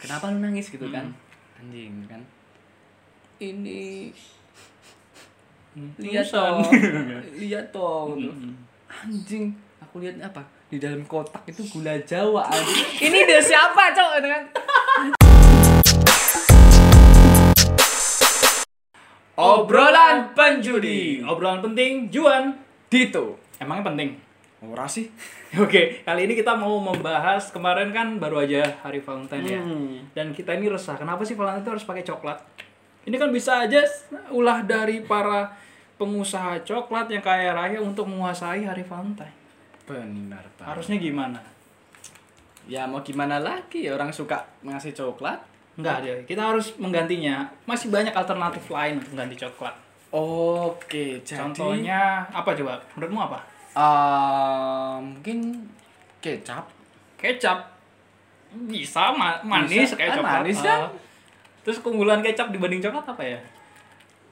kenapa lu nangis gitu kan Hmm. anjing kan ini Hmm, lihat pingsan. toh lihat toh gitu. anjing aku lihat apa di dalam kotak itu gula jawa anjing ini dia siapa cok gitu kan obrolan penjudi obrolan penting Juan Dito emangnya penting murah sih Oke, kali ini kita mau membahas kemarin kan baru aja hari Valentine ya. Hmm. Dan kita ini resah. Kenapa sih Valentine itu harus pakai coklat? Ini kan bisa aja s- ulah dari para pengusaha coklat yang kaya raya untuk menguasai hari Valentine. benar pak Harusnya gimana? ya mau gimana lagi orang suka ngasih coklat Enggak deh, kita harus menggantinya. Masih banyak alternatif lain untuk mengganti coklat. oke jadi Contohnya apa coba? Menurutmu apa? eh, mungkin kecap Kecap bisa ma- manis Bisa. Ah, kayak coklat. manis Ah. kan? Terus keunggulan kecap dibanding coklat apa ya?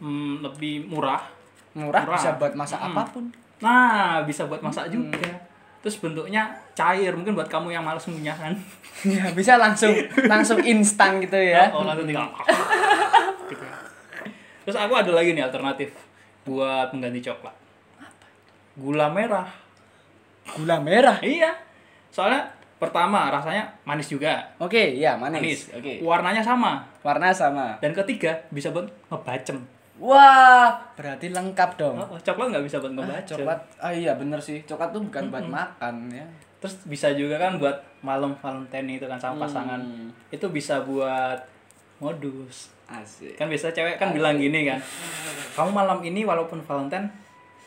Hmm, lebih murah. murah, Murah. bisa buat masak apapun Nah, bisa buat masak juga. Terus bentuknya cair, mungkin buat kamu yang males ngunyah kan. ya bisa langsung langsung instan gitu ya Oh, langsung tinggal. gitu. Terus aku ada lagi nih alternatif buat mengganti coklat. Gula merah. gula merah Iya. Soalnya pertama rasanya manis juga. oke ya manis, Manis. oke Warnanya sama. warna sama Dan ketiga bisa buat ngebacem. wah berarti lengkap dong Oh, coklat nggak bisa Ah, buat ngebacem. coklat ah iya bener sih coklat tuh bukan buat makan ya Terus bisa juga kan buat malam Valentine itu kan sama Hmm. pasangan. Itu bisa buat modus. asik Kan biasa cewek kan bilang gini kan. Kamu malam ini walaupun Valentine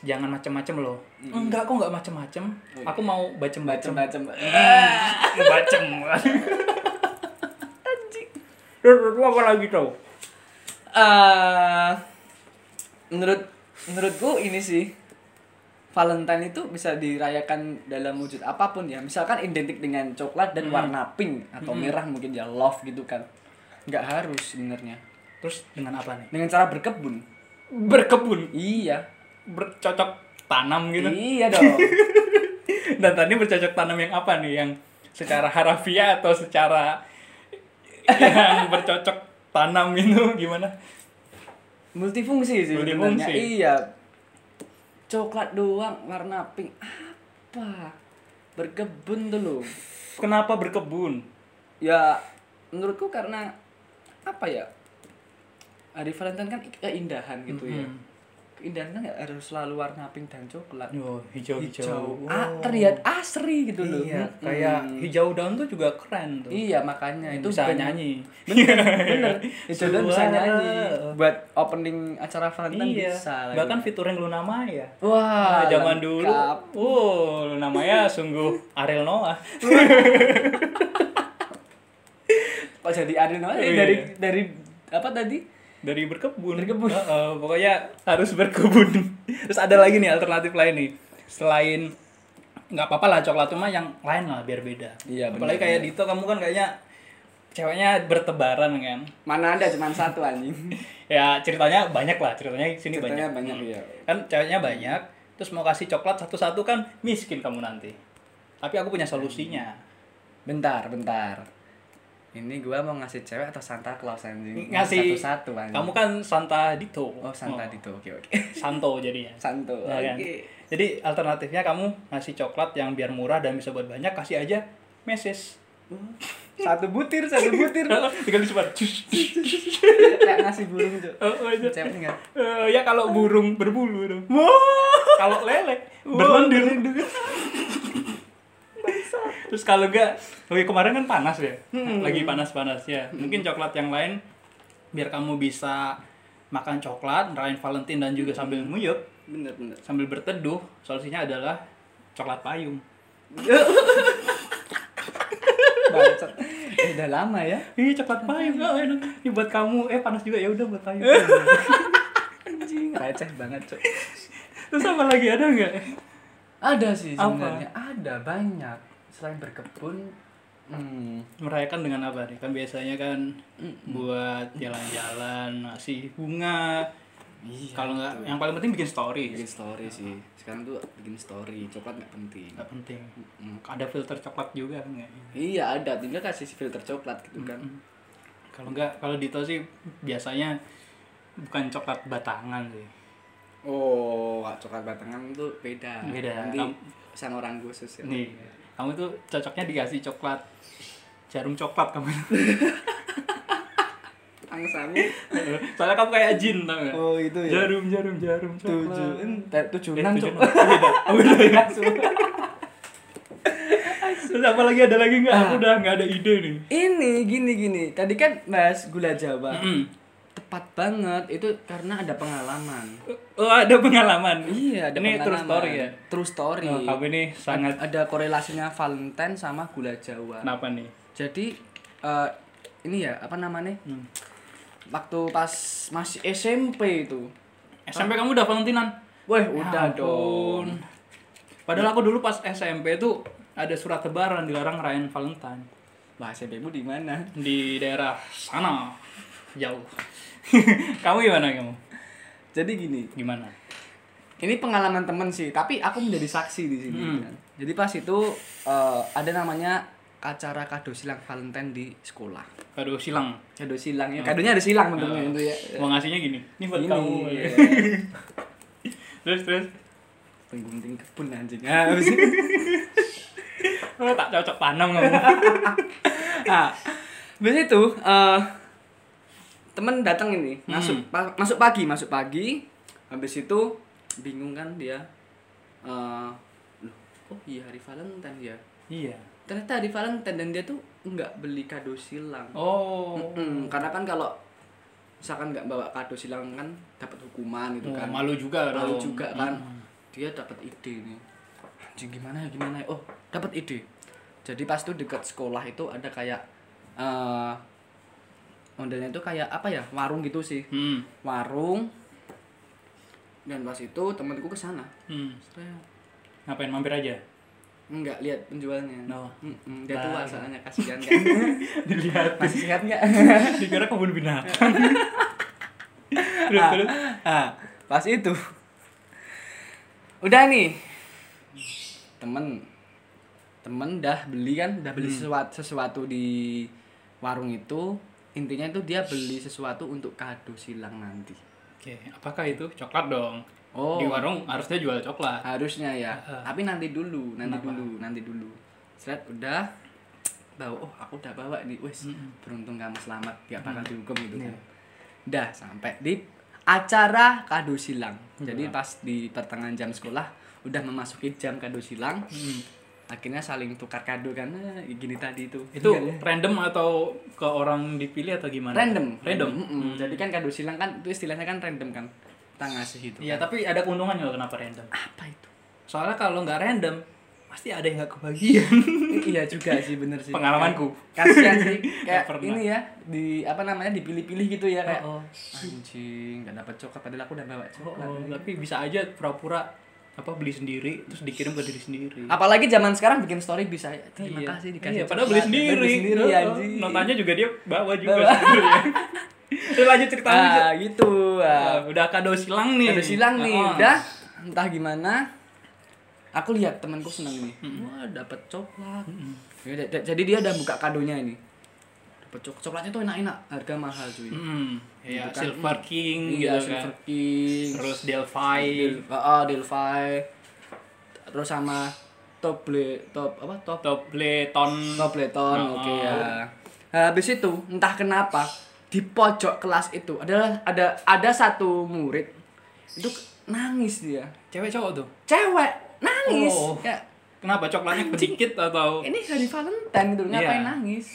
jangan macem-macem loh. Enggak, aku nggak macem-macem. Aku mau bacem-bacem. Hmm, macam Bacem. Anjing. Terus lu apa lagi tau? eh menurut menurutku ini sih Valentine itu bisa dirayakan dalam wujud apapun ya. Misalkan identik dengan coklat dan warna pink atau merah mungkin ya love gitu kan. Nggak harus sebenarnya. Terus dengan apa nih? Dengan cara berkebun. Berkebun, Iya. bercocok tanam gitu. Iya dong. Dan tadi bercocok tanam yang apa nih? Yang secara harafiah atau secara yang bercocok tanam itu gimana? Multifungsi sih Multifungsi. sebenarnya. Iya. Coklat doang warna pink apa? Berkebun tuh loh. Kenapa berkebun? ya menurutku karena apa ya hari Valentine kan keindahan gitu ya Mm-mm. keindahan kan nggak harus selalu warna pink dan coklat Yo, hijau-hijau. hijau Oh, ah, terlihat asri gitu loh Iya, Mm-mm. kayak hijau daun tuh juga keren tuh. iya makanya itu bisa band- nyanyi. bener hijau dan bisa Suara. nyanyi buat opening acara Valentine Iya. bisa lagi. Bahkan fiturnya Luna Maya. wah Nah, zaman dulu, lengkap. wow, Luna Maya sungguh Ariel Noah. kok jadi Ariel Noah Eh, Iya. dari dari apa tadi dari berkebun. Berkebun. Heeh, pokoknya harus berkebun. Terus ada lagi nih alternatif lain nih. Selain nggak apa-apa lah coklat cuma yang lain lah biar beda. Iya, benar, Apalagi kayak Dito kamu kan kayaknya ceweknya bertebaran kan. mana ada cuma satu anjing Ya ceritanya banyak lah, ceritanya di sini Ceritanya banyak. banyak, iya. Kan ceweknya banyak, terus mau kasih coklat satu-satu kan miskin kamu nanti. Tapi aku punya solusinya. Bentar, bentar. Ini gua mau ngasih cewek atau Santa Claus anjing? Ngasih Hmm. satu-satu anjing. Kamu kan Santa Dito. Oh, Santa Oh, Dito. Oke, oke. Santo jadinya. Santo. Ya kan? Oke. Jadi alternatifnya kamu ngasih coklat yang biar murah dan bisa buat banyak kasih aja meses. Satu butir, satu butir. Tinggal disebar. Kayak ngasih burung, Cuk. Oh, oh, itu. Cewek enggak? Eh, ya kalau burung berbulu dong. Kalau lele berlendir. Terus kalau enggak, oh ya kemarin kan panas ya. Lagi panas-panas ya. Mungkin coklat yang lain biar kamu bisa makan coklat, ngerayain Valentine dan juga sambil nguyup, Bener, bener. sambil berteduh. Solusinya adalah coklat payung. Bangsat. Eh, udah lama ya. Ih, coklat payung gak enak. Ini buat kamu. Eh, panas juga. Ya udah buat payung. Anjing, receh banget, Cuk. Terus apa lagi ada nggak? Ada sih Apa? sebenarnya. Ada banyak. Selain berkebun, hmm, Merayakan dengan apa nih? Kan biasanya kan buat jalan-jalan, ngasih bunga, Iya, Kalau nggak, betul. yang paling penting bikin story. bikin story sih. Sekarang tuh bikin story, coklat nggak penting. Nggak penting. Mm. Ada filter coklat juga kan nggak? Iya ada, tinggal kasih filter coklat gitu kan. Kalau nggak, kalau Dito sih biasanya bukan coklat batangan sih. Oh, coklat batangan tuh beda. Beda. Nanti Kam- sama orang khusus ya. Nih, kamu tuh cocoknya dikasih coklat jarum coklat kamu. Angsamu. Soalnya kamu kayak jin tau nggak? Oh, itu ya. Jarum, jarum, jarum coklat. tujuh ente- tujuh Eh, enam tujuh, cok enam. Beda. Oh, beda ya? Terus apa lagi ada lagi nggak? Aku udah nggak ada ide nih. ini gini gini tadi kan bahas gula jawa Mm. Tepat banget itu karena ada pengalaman. Oh, ada pengalaman. Iya, ada Ini pengalaman. true story ya. True story. Oh, kamu ini sangat ada korelasinya Valentine sama gula Jawa. kenapa nih? Jadi eh, ini ya apa namanya? Hmm. Waktu pas masih SMP itu. SMP Eh, kamu udah Valentinan? Weh, udah dong. Ya Ampun. Padahal aku dulu pas SMP tuh ada surat tebaran dilarang rayain Valentine Wah, SMP-mu di mana? di daerah sana jauh. kamu gimana kamu? Jadi gini, Gimana? ini pengalaman temen sih, tapi aku menjadi saksi di sini. Hmm. kan. Jadi pas itu eh, ada namanya acara kado silang Valentine di sekolah. Kado silang. Kado silang ya. Kadonya ada silang bentuknya Nah, itu ya. Mau ngasihnya gini. Ini buat Ini, kamu. ya. iya. terus terus. Penggunting kebun anjing. Ah, habis itu- Oh, tak cocok tanam kamu. Nah, habis itu eh, temen datang ini, Hmm. masuk pa- masuk pagi, masuk pagi. Habis itu bingung kan dia. Eh, loh, oh iya hari Valentine ya. iya. Ternyata hari Valentine dan dia tuh nggak beli kado silang. Oh. Mm, karena kan kalau misalkan nggak bawa kado silang kan dapat hukuman gitu Wah, kan. Oh, malu juga Malu dong. juga kan. Dia dapat ide nih. Anjing gimana ya gimana ya? Oh, dapat ide. Jadi pas tuh dekat sekolah itu ada kayak eh modelnya itu kayak apa ya? Warung gitu sih. Hmm. Warung. Dan pas itu temanku ke sana. Hmm. Seret. Ngapain mampir aja? Enggak lihat penjualnya. No. Mm-mm, dia tua Bye. soalnya kasihan kan. Dilihat. Masih sehat nggak? Dikira kebun binatang. terus terus. Ah, pas itu. Udah nih. Temen temen dah beli kan, dah Hmm. beli sesuatu, sesuatu di warung itu. Intinya itu dia beli sesuatu untuk kado silang nanti. Oke, apakah itu coklat dong? Oh. Di warung harusnya jual coklat. Harusnya ya. Heeh. Tapi nanti dulu, nanti Kenapa? dulu, nanti dulu. Seret udah bawa oh aku udah bawa nih wes beruntung kamu selamat gak bakal dihukum gitu Iya. kan udah sampai di acara kado silang jadi pas di pertengahan jam sekolah udah memasuki jam kado silang Hmm. akhirnya saling tukar kado kan "Ah, gini tadi itu Itu Iya, iya. random atau ke orang dipilih atau gimana? random Random. Hmm. Mm-mm. jadi kan kado silang kan itu istilahnya kan random kan kita ngasih gitu Iya, tapi ada keuntungannya loh kenapa random. apa itu Soalnya kalau nggak random, pasti ada yang nggak kebagian. iya juga sih bener sih Pengalamanku. kasihan sih kayak Nggak pernah. ini ya di apa namanya dipilih-pilih gitu ya kayak Oh, oh. anjing nggak dapat coklat padahal aku udah bawa Oh, coklat oh, tapi bisa aja pura-pura apa beli sendiri terus dikirim ke diri sendiri. apalagi zaman sekarang bikin story bisa ya, terima Iya. kasih dikasih Iya, padahal beli coklat." sendiri. Padahal beli sendiri, Iya, Oh, oh. anjing. Notanya juga dia bawa juga Bawa. sebenarnya. Terus lanjut ceritanya. Jo. ah gitu ah. Ah, udah kado silang nih. Ada silang nih, Oh. udah entah gimana. Aku lihat temanku seneng nih. Wah, dapat coklat. Ya, da- da- jadi dia udah buka kadonya ini. Dapat coklat. Coklatnya tuh enak-enak, harga mahal cuy. Hmm, iya, Gitu kan. Silver King Iya, gitu kan. Silver King. Terus Delphi, Del- ah, Delphi. Terus sama Toble, top apa? Top Tobleton. Tobleton, Oh. oke ya. Nah, habis itu entah kenapa di pojok kelas itu adalah ada ada satu murid itu nangis dia. Cewek cowok tuh. Cewek nangis. Oh. Kayak, Kenapa coklatnya sedikit atau ini hari Valentine gitu ngapain Iya. nangis?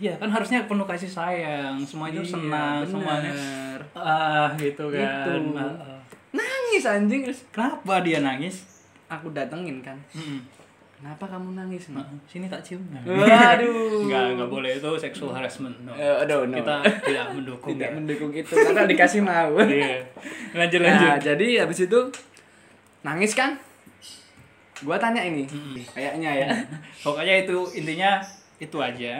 Iya, kan harusnya penuh kasih sayang, semuanya Iya, senang, semuanya bener. ah gitu kan. Gitu. Ah, ah. Nangis anjing. Terus Kenapa dia nangis? Aku datengin kan. Mm-mm. Kenapa kamu nangis? Ah, Mak? ah. Sini tak cium. Waduh. Enggak, enggak boleh itu sexual harassment. No. Eh, aduh, no. Kita tidak mendukung. Tidak ya. mendukung itu karena dikasih mau. Iya. Lanjut Nah, lanjut. jadi habis itu nangis kan? Gua tanya ini. Kayaknya ya. Pokoknya itu intinya itu aja.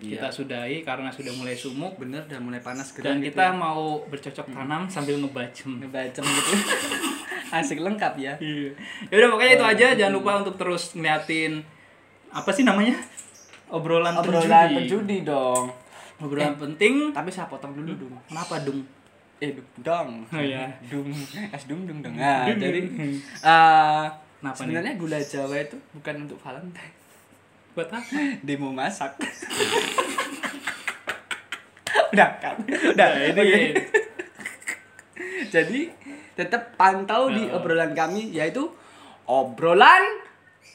kita sudahi karena sudah mulai sumuk bener udah mulai panas gerah dan gitu kita mau bercocok tanam sambil ngebacem. ngebacem gitu asik lengkap ya Iya. Ya udah pokoknya itu aja jangan lupa untuk terus ngeliatin apa sih namanya? Obrolan, Eh. obrolan penjudi. penjudi dong Obrolan penting. tapi saya potong dulu dong Kenapa dung? eh dung dong Oh ya. dung es dung dung dong nah Dung, dung. jadi eh, Kenapa nih? sebenarnya gula jawa itu bukan untuk valentine Buat apa? demo masak udah kan udah Nah, Ini oke. jadi tetap pantau di obrolan kami yaitu obrolan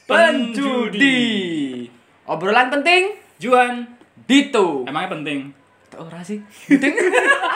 penjudi obrolan penting Juan, Dito emangnya penting. Tuh, ora sih penting